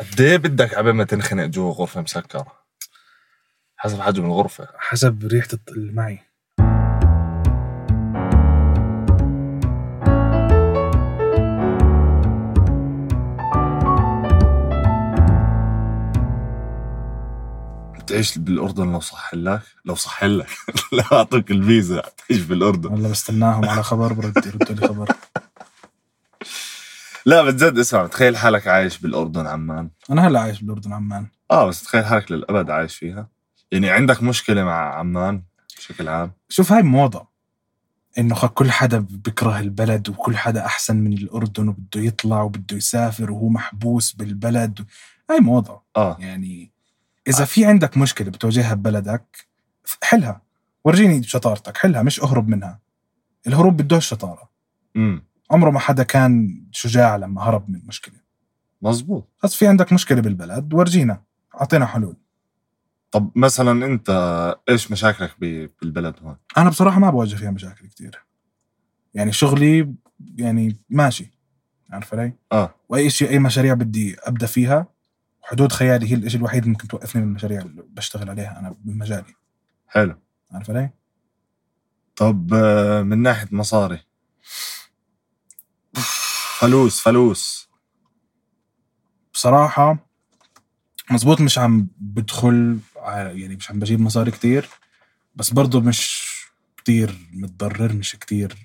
قد ايه بدك عبين ما تنخنق جوا غرفه مسكره؟ حسب حجم الغرفه حسب ريحه الط- اللي معي تعيش بالاردن لو صح لك لو صح لك لا اعطوك الفيزا تعيش بالاردن والله بستناهم على خبر برد يردوا لي خبر لا بجد اسمع تخيل حالك عايش بالاردن عمان انا هلا عايش نعم، بالاردن عمان اه بس تخيل حالك للابد عايش فيها يعني عندك مشكله مع عمان بشكل عام شوف هاي موضه انه خ- كل حدا بكره البلد وكل حدا احسن من الاردن وبده يطلع وبده يسافر وهو محبوس بالبلد هاي موضه اه يعني اذا في عندك مشكله بتواجهها ببلدك حلها ورجيني شطارتك حلها مش اهرب منها الهروب بدوش شطاره امم عمره ما حدا كان شجاع لما هرب من مشكله مزبوط بس في عندك مشكله بالبلد ورجينا اعطينا حلول طب مثلا انت ايش مشاكلك ب- بالبلد هون انا بصراحه ما بواجه فيها مشاكل كتير يعني شغلي يعني ماشي عارف علي اه واي شيء اي مشاريع بدي ابدا فيها حدود خيالي هي الشيء الوحيد اللي ممكن توقفني من المشاريع اللي بشتغل عليها انا بمجالي حلو عارف علي طب آه، من ناحيه مصاري فلوس فلوس بصراحة مزبوط مش عم بدخل على- يعني مش عم بجيب مصاري كتير بس برضو مش كتير متضرر مش كتير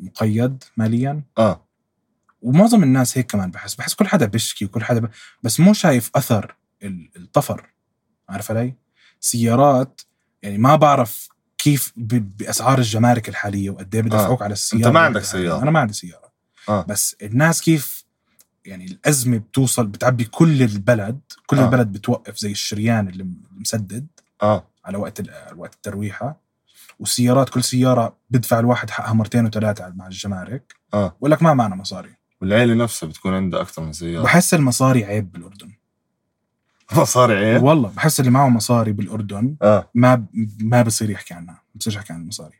مقيد ماليا اه ومعظم الناس هيك كمان بحس بحس كل حدا بيشكي وكل حدا ب... بس مو شايف أثر ال- الطفر عارف علي سيارات يعني ما بعرف كيف ب... بأسعار الجمارك الحالية وقد إيه بدفعوك على السيارة آه. ما عندك سيارة. أنا ما عندي سيارة اه بس الناس كيف يعني الازمه بتوصل بتعبي كل البلد كل آه. آه. البلد بتوقف زي الشريان اللي م- مسدد اه على وقت ال- وقت الترويحه والسيارات كل سياره بدفع الواحد حقها مرتين وثلاثه مع الجمارك اه بقول لك ما معنا مصاري والعيلة نفسها بتكون عندها أكثر من سيارة بحس المصاري عيب بالاردن مصاري إيه؟ عيب والله بحس اللي معه مصاري بالاردن اه ما ب... ما بصير يحكي عنها ما بصير يحكي عن المصاري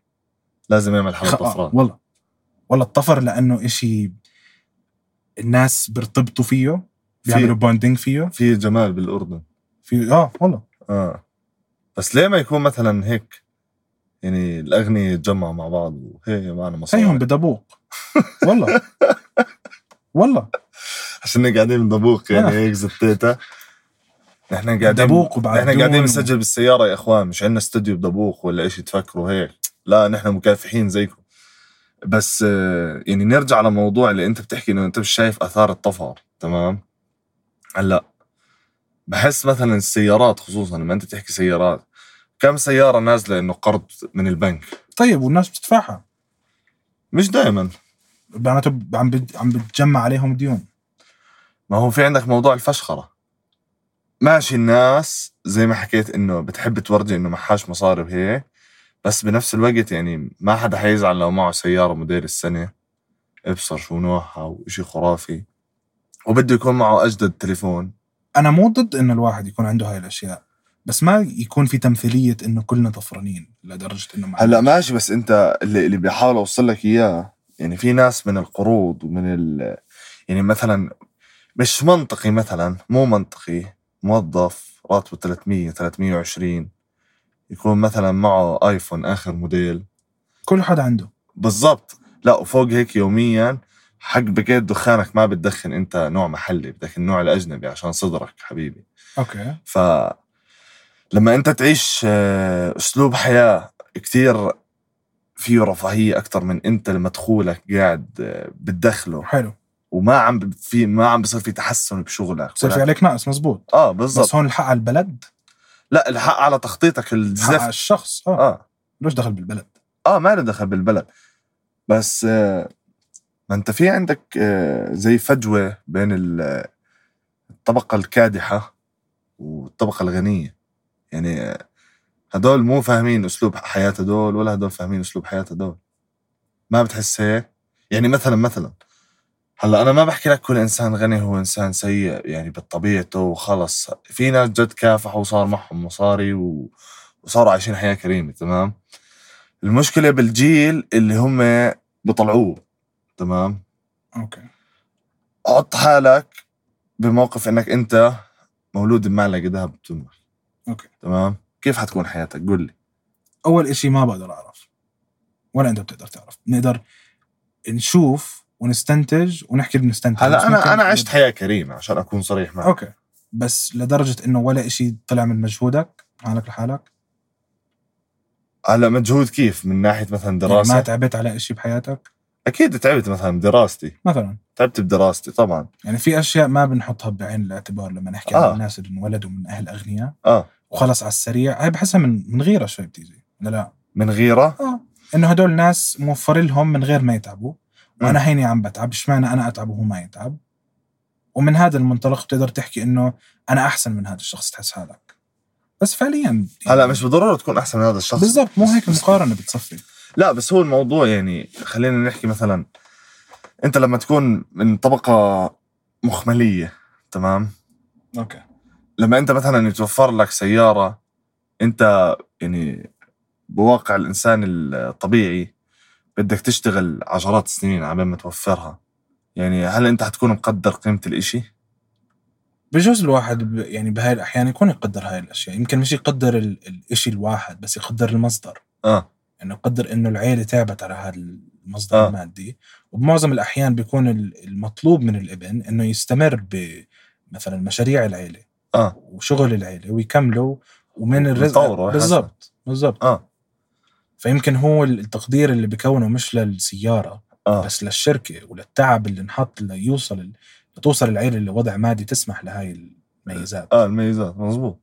لازم يعمل حالة خ- آه، طفران والله والله الطفر لانه إشي الناس بيرتبطوا فيه بيعملوا بوندينج فيه في جمال بالأردن في اه والله اه بس ليه ما يكون مثلا هيك يعني الأغنياء يتجمعوا مع بعض وهي معنا مصاري خيهم بدبوق والله والله عشان قاعدين بدبوق يعني آه. هيك زتيتها نحن قاعدين دبوق وبعدون نحن قاعدين و- نسجل بالسيارة يا إخوان مش عندنا استوديو بدبوق ولا إيش تفكروا هيك لا نحن مكافحين زيكم بس آه، يعني نرجع لموضوع اللي أنت بتحكي إنه أنت مش شايف آثار الطفر تمام هلا بحس مثلا السيارات خصوصا لما أنت تحكي سيارات كم سيارة نازلة إنه قرض من البنك طيب والناس بتدفعها مش دائما معناته ب- عم بت- عم بتجمع عليهم ديون ما هو في عندك موضوع الفشخرة ماشي الناس زي ما حكيت انه بتحب تورجي انه معهاش مصاري وهيك بس بنفس الوقت يعني ما حدا حيزعل لو معه سيارة موديل السنة ابصر شو نوعها وإشي خرافي وبده يكون معه أجدد تليفون انا مو ضد انه الواحد يكون عنده هاي الاشياء بس ما يكون في تمثيليه انه كلنا طفرانين لدرجه انه ما هلا ماشي بس أنت اللي اللي بحاول أوصل لك إياه يعني في ناس من القروض ومن ال يعني مثلا مش منطقي مثلا مو منطقي موظف راتبه 300 320 يكون مثلا معه ايفون اخر موديل كل حدا عنده بالضبط لا وفوق هيك يوميا حق باكيت دخانك ما بتدخن انت نوع محلي بدك النوع الاجنبي عشان صدرك حبيبي اوكي ف لما انت تعيش آه، اسلوب حياه كتير فيه رفاهيه اكثر من انت مدخولك قاعد آه، بتدخله حلو وما عم ب- في ما عم بصير في تحسن بشغلك بصير ولا- في عليك نقص مزبوط اه بس بالضبط هون الحق على البلد لا الحق على تخطيطك الحق على الزفت الشخص اه اه ليش دخل بالبلد اه ما له دخل بالبلد بس آه، ما انت في عندك آه، زي فجوه بين ال- الطبقه الكادحه والطبقه الغنيه يعني آه، هدول مو فاهمين اسلوب حياه هدول ولا هدول فاهمين اسلوب حياه هدول ما بتحس هيك يعني مثلا مثلا هلا انا ما بحكي لك كل انسان غني هو انسان سيء يعني بطبيعته وخلص في ناس جد كافحوا وصار معهم مصاري و... وصاروا عايشين حياه كريمه تمام المشكله بالجيل اللي هم بطلعوه تمام اوكي حط حالك بموقف انك انت مولود بمعلقه ذهب بتنوح أوكي. تمام كيف حتكون حياتك قول لي اول إشي ما بقدر اعرف ولا انت بتقدر تعرف نقدر نشوف ونستنتج ونحكي اللي بنستنتج طيب، بس هلا ممكن- انا انا عشت حياه كريمه عشان اكون صريح معك اوكي بس لدرجه انه ولا إشي طلع من مجهودك حالك لحالك هلا مجهود كيف من ناحيه مثلا يعني ما دراسه تعبت على إشي بحياتك اكيد تعبت مثلا بدراستي مثلا تعبت بدراستي طبعا يعني في اشياء ما بنحطها بعين الاعتبار لما نحكي آه. عن الناس اللي انولدوا من اهل اغنياء اه وخلص على السريع هاي بحسها من من غيره شوي بتيجي لا لا من غيره اه انه هدول ناس موفر لهم من غير ما يتعبوا مم. وانا هيني عم بتعب اشمعنى انا اتعب وهو ما يتعب ومن هذا المنطلق بتقدر تحكي انه انا احسن من هذا الشخص تحس حالك بس فعليا يعني هلا مش بالضروره تكون احسن من هذا الشخص بالضبط مو هيك بس- المقارنه بتصفي لا بس هو الموضوع يعني خلينا نحكي مثلا انت لما تكون من طبقه مخمليه تمام اوكي لما انت مثلا يتوفر لك سياره انت يعني بواقع الانسان الطبيعي بدك تشتغل عشرات السنين عبين ما توفرها يعني هل انت حتكون مقدر قيمه الإشي؟ بجوز الواحد ب... يعني بهاي الاحيان يكون يقدر هاي الاشياء يمكن مش يقدر ال... الاشي الواحد بس يقدر المصدر اه انه قدر انه العيله تعبت على هذا المصدر آه. آه. المادي وبمعظم الاحيان بيكون ال- المطلوب من الابن انه يستمر ب مثلا مشاريع العيله اه وشغل العيله ويكملوا ومن الرزق ويطوروا بالضبط بالضبط اه فيمكن هو التقدير اللي بكونه مش للسياره اه بس للشركه وللتعب اللي انحط ليوصل ال- لتوصل العيله لوضع مادي تسمح لهاي الميزات اه الميزات مزبوط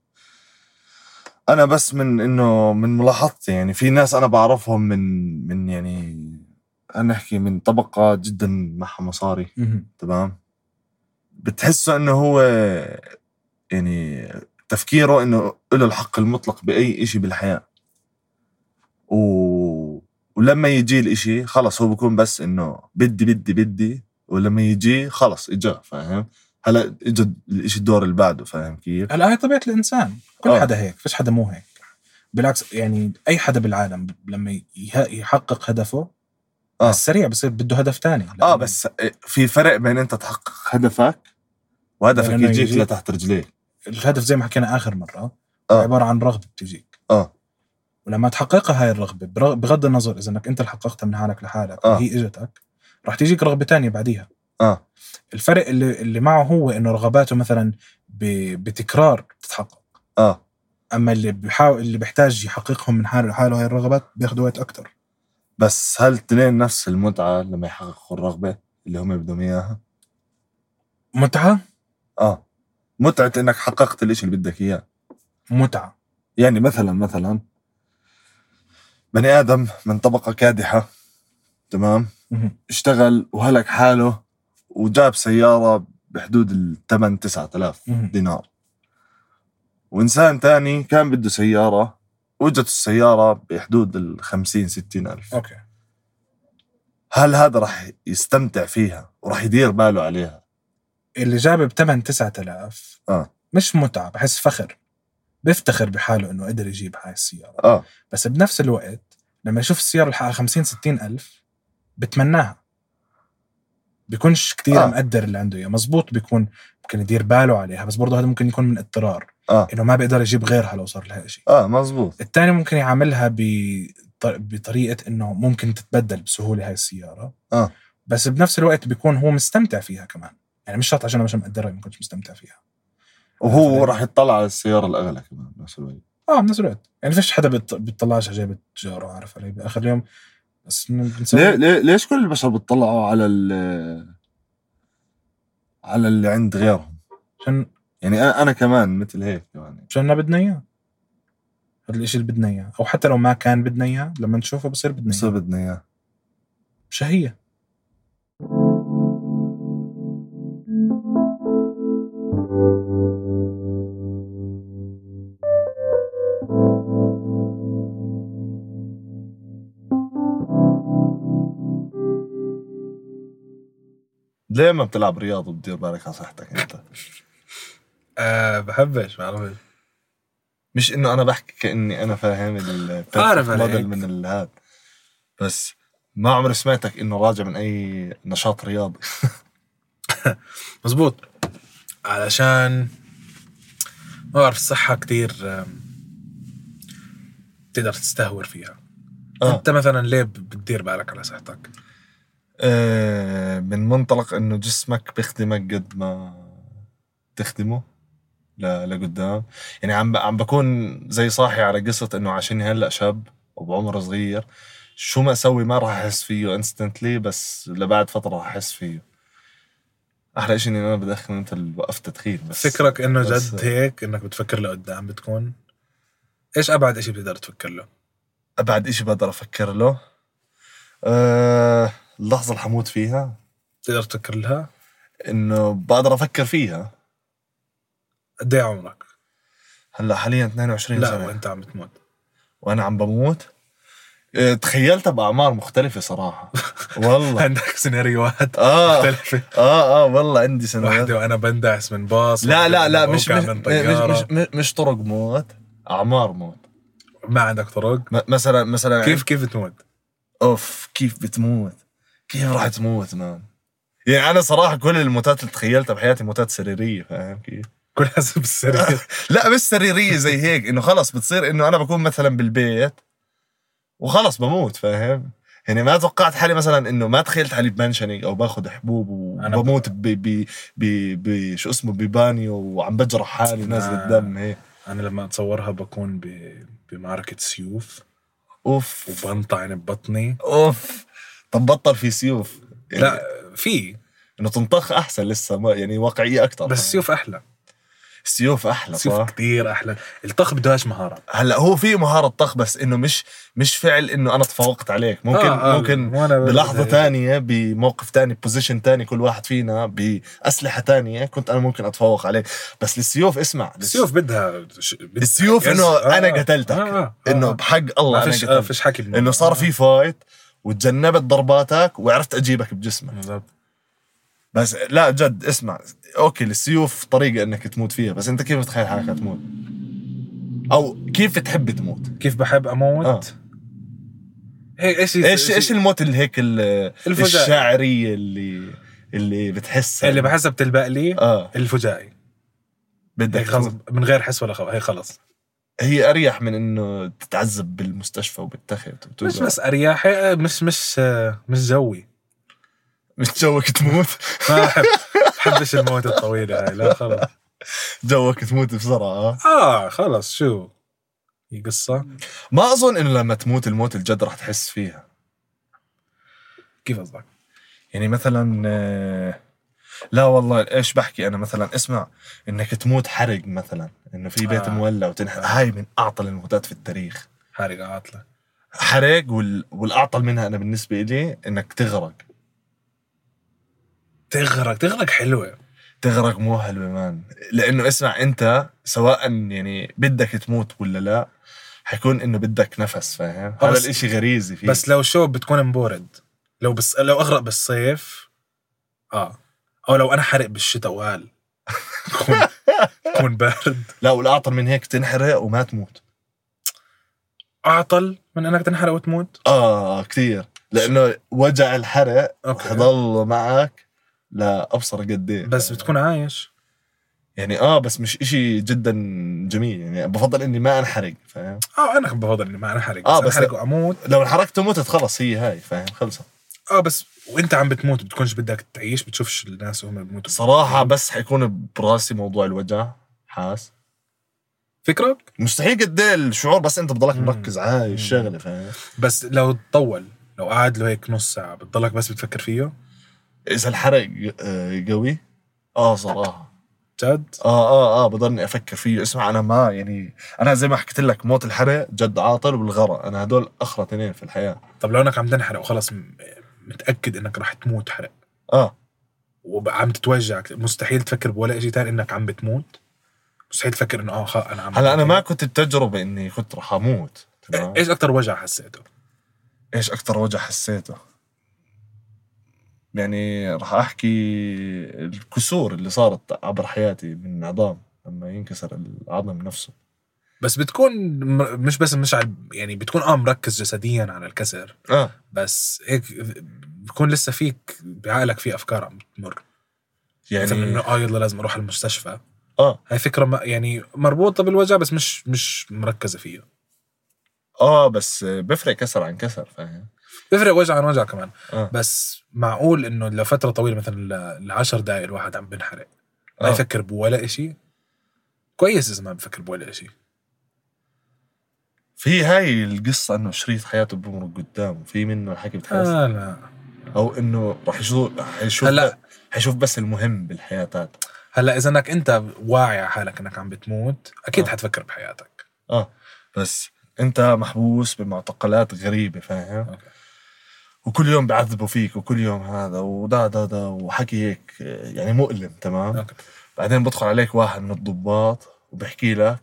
انا بس من انه من ملاحظتي يعني في ناس انا بعرفهم من من يعني انا احكي من طبقه جدا معها مصاري مهم. تمام بتحسه انه هو يعني تفكيره انه له الحق المطلق باي شيء بالحياه و... ولما يجي الاشي خلص هو بكون بس انه بدي بدي بدي ولما يجي خلص اجا فاهم هلا اجى الاشي الدور اللي بعده فاهم كيف هلا هاي طبيعه الانسان كل آه. آه. حدا هيك فيش حدا مو هيك بالعكس يعني اي حدا بالعالم ب- لما يه- يحقق هدفه آه. آه. السريع بصير بده هدف تاني اه بس في فرق بين انت تحقق هدفك وهدفك بين إنه يجيك يجيك. لتحت رجليك الهدف زي ما حكينا اخر مره آه. آه. عباره عن رغبه بتجيك آه. ولما تحققها هاي الرغبه برغ- بغض النظر اذا انك انت اللي حققتها من حالك لحالك آه. آه. هي اجتك رح تجيك رغبه تانية بعديها اه الفرق اللي, اللي معه هو انه رغباته مثلا ب- بتكرار بتتحقق اه اما اللي بيحاول اللي بيحتاج يحققهم من حاله لحاله هاي الرغبات بياخذوا وقت اكثر بس هل تنين نفس المتعه لما يحققوا الرغبه اللي هم بدهم اياها متعه اه متعه انك حققت الاشي اللي بدك اياه متعه يعني مثلا مثلا بني ادم من طبقه كادحه تمام مهم. اشتغل وهلك حاله وجاب سياره بحدود ال 8 9000 مهم. دينار وانسان تاني كان بده سياره واجت السياره بحدود ال 50 60 الف اوكي هل هذا راح يستمتع فيها وراح يدير باله عليها اللي جابه ب 8 9000 آه. مش متعه بحس فخر بيفتخر بحاله انه قدر يجيب هاي السياره اه بس بنفس الوقت لما يشوف السياره اللي حقها 50 60 الف بتمناها بيكونش كتير آه. آه. مقدر اللي عنده اياه مزبوط بيكون ممكن يدير باله عليها بس برضه هذا ممكن يكون من اضطرار اه انه ما بيقدر يجيب غيرها لو صار لها شيء اه مزبوط الثاني ممكن يعاملها ب بطريقه انه ممكن تتبدل بسهوله هاي السياره آه. بس بنفس الوقت بيكون هو مستمتع فيها كمان يعني مش شرط عشان انا مش مقدرها ما كنتش مستمتع فيها وهو راح يطلع على السياره الاغلى كمان بنفس الوقت اه بنفس الوقت يعني فيش حدا بيط- بيطلعش على جيب جاره عارف علي باخر اليوم بس إنه بنسوي- ليه ليه ليش كل البشر بتطلعوا على ال على اللي عند غيرهم عشان يعني انا أنا كمان مثل هيك يعني، كمان عشان أنا بدنا اياه هذا الشيء اللي بدنا اياه او حتى لو ما كان بدنا اياه لما نشوفه بصير بدنا بصير اياه بدنا اياه شهيه ليه ما بتلعب رياضه بتدير بالك على صحتك انت آه بحبش بعرفش مش انه انا بحكي كاني انا فاهم ال أعرف عليك. موديل من الهاد بس ما عمري سمعتك انه راجع من اي نشاط رياضي مزبوط علشان ما بعرف الصحة كتير آم، تقدر تستهور فيها آه. آه. انت مثلا ليه ب- بتدير بالك على صحتك آه، من منطلق انه جسمك بيخدمك قد ما تخدمه ل- لقدام يعني عم ب- عم بكون زي صاحي على قصه انه عشان هلا شاب وبعمر صغير شو ما اسوي ما راح احس فيه انستنتلي بس لبعد فتره راح احس فيه احلى شيء اني انا بدخن انت اللي وقفت تدخين بس فكرك انه بس- جد هيك انك بتفكر لقدام بتكون ايش ابعد اشي بتقدر تفكر له ابعد إشي بقدر افكر له أه اللحظه اللي حموت فيها بتقدر تفكر لها انه بقدر افكر فيها قد ايه عمرك هلا حاليا 22 لا سنه وانت عم بتموت وانا عم بموت إيه، تخيلتها باعمار مختلفه صراحه والله عندك سيناريوهات اه مختلفة اه اه والله عندي سنوات واحدة وانا بندعس من باص لا واحدة لا لا وأنا مش بوقع مش من طيارة. مش, مش, مش طرق موت اعمار موت ما عندك طرق م- مثلا مثلا كيف كيف تموت اوف كيف بتموت كيف راح تموت مان يعني انا صراحه كل الموتات اللي تخيلتها بحياتي موتات سريريه فاهم كيف كل حسب السرير لا مش سريريه زي هيك انه خلص بتصير انه انا بكون مثلا بالبيت وخلص بموت فاهم يعني ما توقعت حالي مثلا انه ما تخيلت حالي بمنشني او باخذ حبوب أنا وبموت ب ب ب ب شو اسمه ببانيو وعم بجرح حالي ونازل آه. الدم هيك انا لما اتصورها بكون ب... بمعركة سيوف اوف وبنطعن ببطني اوف طب بطل في سيوف يعني لا في انه تنطخ احسن لسه ما يعني واقعيه اكثر بس السيوف احلى السيوف احلى صح السيوف كثير احلى الطخ بدهاش مهارة هلا هو في مهاره طخ بس انه مش مش فعل انه انا تفوقت عليك ممكن آه، آه، ممكن وأنا بلحظة بدي- تانية بموقف تاني بوزيشن تاني كل واحد فينا بأسلحة تانية كنت أنا ممكن أتفوق عليه بس للسيوف اسمع السيوف بدها ش- بدها- السيوف يس- إنه آه، أنا قتلتك. آه، آه. إنه بحق الله ما أنا فيش آه، قتلت فيش حكي إنه صار في فايت وتجنبت ضرباتك وعرفت أجيبك بجسمك بالضبط بس لا جد اسمع أوكي السيوف طريقة إنك تموت فيها بس أنت كيف متخيل حالك تموت أو كيف تحب تموت كيف بحب آه. اموت هيك ايش ايش ايش الموت اللي هيك ال- الفجائع. الشاعريه اللي اللي بتحسها اللي بحسها بتلبق لي اه الفجائي بدك هيك إيه، خلص تموت. من غير حس ولا خبر هي خلص هي اريح من انه تتعذب بالمستشفى وبالتخت وتوجع. مش بس ارياح هي مش مش آه، مش جوي مش جوك تموت ما احب بحبش الموت الطويله هاي لا خلص جوك تموت بسرعه آه. اه خلص شو هي قصه ما اظن انه لما تموت الموت الجد رح تحس فيها كيف قصدك؟ يعني مثلا آه، لا والله ايش بحكي انا مثلا اسمع انك تموت حرق مثلا انه في بيت آه. مولع وتنحرق هاي من اعطل الموتات في التاريخ حارقه عاطله حرق وال... والاعطل منها انا بالنسبه لي انك تغرق تغرق تغرق حلوه إيه. تغرق مو حلوه مان لانه اسمع انت سواء يعني بدك تموت ولا لا حيكون انه بدك نفس فاهم آه، هذا بس- الاشي غريزي فيه بس لو شوب بتكون مبورد لو بس لو اغرق بالصيف اه او لو انا حرق بالشتاء وقال كون كون بارد لا والاعطر من هيك تنحرق وما تموت اعطل من انك تنحرق وتموت اه كثير لانه وجع الحرق اوكي حضل معك لابصر قد ايه بس بتكون عايش يعني اه بس مش اشي جدا جميل يعني بفضل اني ما انحرق فاهم اه انا بفضل اني ما انحرق آه، اه بس- بس انحرق واموت لو انحرقت ومتت خلص هي هاي فاهم خلصت اه بس وانت عم بتموت بتكونش بدك تعيش بتشوفش الناس وهم بيموتوا صراحة بس حيكون براسي موضوع الوجع حاس فكرك مستحيل قد ايه الشعور بس انت بضلك مم. مركز على هاي الشغلة فاهم بس لو تطول لو قعد له هيك نص ساعه بتضلك بس بتفكر فيه اذا الحرق آه، قوي اه صراحة جد اه اه اه بضلني افكر فيه اسمع انا ما يعني انا زي ما حكيت لك موت الحرق جد عاطل والغرق انا هدول اخرى اثنين في الحياة طب لو انك عم تنحرق وخلص م- متاكد انك رح تموت حرق اه وعم تتوجع مستحيل تفكر بولا شيء تاني انك عم بتموت مستحيل تفكر انه اه خ- انا عم يعني هلا انا ما بموت. كنت بتجربة اني كنت رح اموت تمام؟ ايش اكثر إيه، وجع حسيته؟ ايش اكثر وجع حسيته يعني راح احكي الكسور اللي صارت عبر حياتي من عظام لما ينكسر العظم نفسه بس بتكون م- مش بس مش على يعني بتكون اه مركز جسديا على الكسر اه بس هيك بكون لسه فيك بعقلك في افكار عم تمر يعني مثلا يعني انه اه يلا لازم اروح على المستشفى اه هاي فكره ما يعني مربوطه بالوجع بس مش مش مركزه فيه اه بس بفرق كسر عن كسر فاهم بيفرق وجع عن وجع كمان آه. بس معقول انه لفتره طويله مثلا ل- لعشر دقائق الواحد عم بنحرق ما آه. يفكر بولا إشي كويس اذا ما بفكر بولا إشي آه، في هاي القصة انه شريط حياته بمرق قدام في منه الحكي بتحس آه لا او انه راح يشوف حيشوف هلا. حيشوف بس المهم بالحياة هاد هلا اذا انك انت واعي على حالك انك عم بتموت اكيد آه. حتفكر بحياتك اه بس انت محبوس بمعتقلات غريبة فاهم أوكي. وكل يوم بعذبوا فيك وكل يوم هذا ودا دا دا وحكي هيك آه، يعني مؤلم تمام أوكي. بعدين بدخل عليك واحد من الضباط وبحكي لك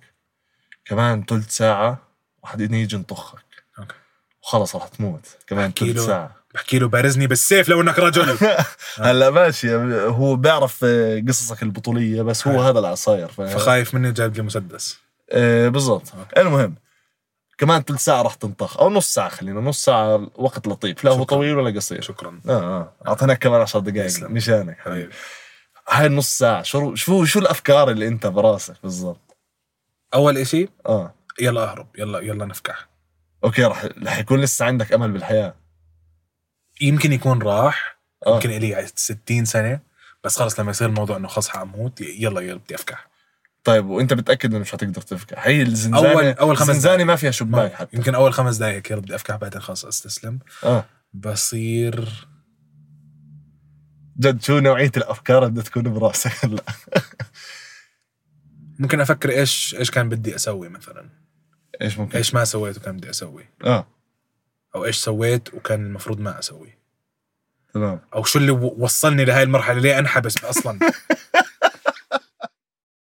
كمان ثلث ساعة رح يجي ينطخك أوكي. وخلص رح تموت كمان بحكي ثلث له. أه. ساعة بحكي له بارزني بالسيف لو انك رجل هلا ماشي هو بيعرف آه، قصصك البطولية بس هو آه. هذا اللي عصاير فاهم فخايف مني جايب لي مسدس آه، بالضبط أوكي. المهم كمان ثلث ساعة رح تنطخ أو نص ساعة خلينا نص ساعة وقت لطيف لا هو شكراً. طويل ولا قصير شكرا اه اه اعطيناك كمان 10 دقائق يسلم. مشانك حبيبي حبيبي هاي النص ساعة شو شو شو الأفكار اللي أنت براسك بالضبط اول إشي اه يلا اهرب يلا يلا نفكح اوكي رح رح يكون لسه عندك امل بالحياه يمكن يكون راح آه. يمكن الي 60 سنه بس خلص لما يصير الموضوع انه خلص حاموت يلا يلا بدي افكح طيب وانت متاكد انه مش حتقدر تفكح هي الزنزانه أول- أول خمس الزنزانه دقايق. ما فيها شباك حتى يمكن اول خمس دقائق هيك يلا بدي افكح بعدين خلص استسلم اه بصير جد شو نوعيه الافكار اللي بدها تكون براسك هلا ممكن افكر ايش ايش كان بدي اسوي مثلا ايش ممكن ايش ما سويت وكان بدي اسوي اه او ايش سويت وكان المفروض ما اسوي تمام او شو اللي و- وصلني لهاي المرحله ليه انحبس اصلا